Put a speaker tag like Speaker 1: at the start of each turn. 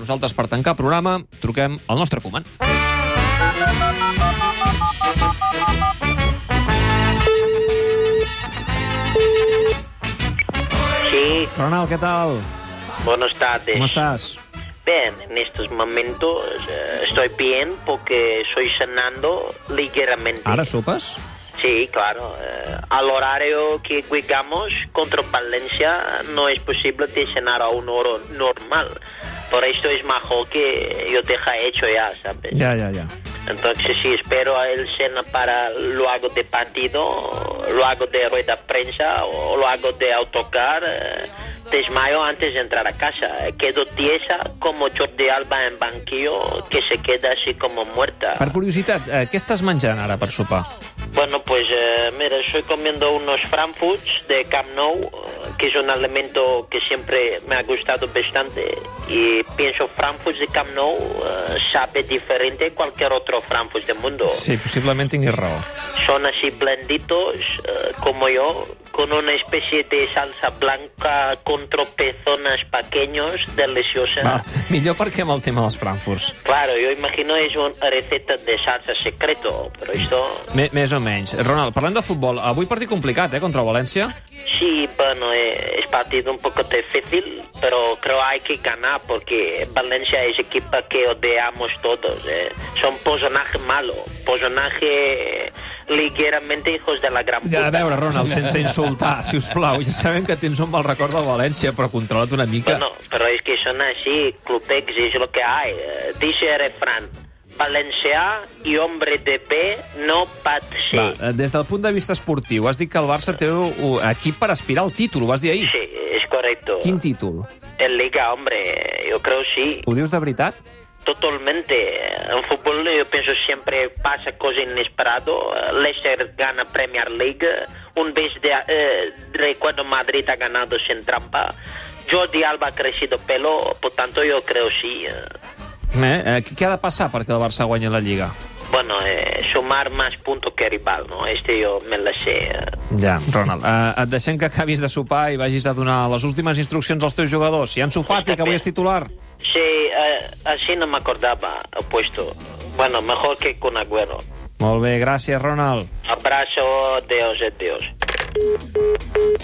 Speaker 1: Nosaltres, per tancar programa, truquem al nostre comand.
Speaker 2: Sí,
Speaker 1: Ronald, què tal?
Speaker 2: buenas tardes.
Speaker 1: Com estàs?
Speaker 2: Bien, en estos momentos eh, estoy bien porque estoy cenando ligeramente.
Speaker 1: Ara sopes?
Speaker 2: Sí, claro. eh, al horario que jugamos contra Palencia no es posible de cenar a un oro normal. Por esto es mejor que yo te haya hecho ya, ¿sabes?
Speaker 1: Ja, ja, ja.
Speaker 2: Entonces sí, espero a él cena para luego de partido, luego de rueda de prensa o luego de autocar. eh, Desmayo antes de entrar a casa. Eh, Quedo tiesa como Jordi Alba en banquillo que se queda así como muerta.
Speaker 1: Per curiositat, eh, què estàs menjant ara per sopar?
Speaker 2: Bueno, pues eh, mira, estoy comiendo unos frankfurts de Camp Nou, eh, que es un alimento que siempre me ha gustado bastante. Y pienso, frankfurts de Camp Nou eh, sabe diferente a cualquier otro frankfurt del mundo.
Speaker 1: Sí, possiblement tinguis raó.
Speaker 2: Son así blanditos, eh, como yo, con una especie de salsa blanca con tropezones pequeños, deliciosa.
Speaker 1: Va, millor perquè amb el tema dels frankfurts.
Speaker 2: Claro, yo imagino es una receta de salsa secreto, pero esto...
Speaker 1: M més o menys. Ronald, parlem de futbol. Avui partit complicat, eh, contra el València.
Speaker 2: Sí, bueno, eh, es partido un poco difícil, pero creo hay que ganar porque Valencia es equipo que odiamos todos. eh. Son personajes malos, personajes eh, ligeramente hijos de la gran puta.
Speaker 1: A veure, Ronald, sense insultar, si us plau. Ja sabem que tens un mal record del València, però controla't una mica.
Speaker 2: Bueno, pero es que son así, Clubex es lo que hay. Eh, Dice el refrán, Valencia y hombre de B no patse.
Speaker 1: Va, eh, des del punt de vista esportiu, has dit que el Barça té un equip per aspirar al títol, ho vas dir ahir.
Speaker 2: Sí, es correcto.
Speaker 1: Quin títol?
Speaker 2: En Liga, hombre, yo creo sí.
Speaker 1: Ho dius de veritat?
Speaker 2: Totalmente. En fútbol yo pienso siempre pasa cosas inesperado. Eh, Leicester gana Premier League. Un vez de, eh, recuerdo Madrid ha ganado sin trampa. Jordi Alba ha crecido pelo, por tanto yo creo sí. eh.
Speaker 1: Eh? Eh, què ha de passar perquè el Barça guanyi la Lliga?
Speaker 2: Bueno, eh, sumar más puntos que rival, ¿no? Este yo me la sé. eh.
Speaker 1: Ja, Ronald, eh, et deixem que acabis de sopar i vagis a donar les últimes instruccions als teus jugadors. Si han sopat i que avui és titular.
Speaker 2: Sí, eh, así no me acordaba, puesto. Bueno, mejor que con Agüero.
Speaker 1: Molt bé, gràcies, Ronald.
Speaker 2: Abrazo, adiós, adiós.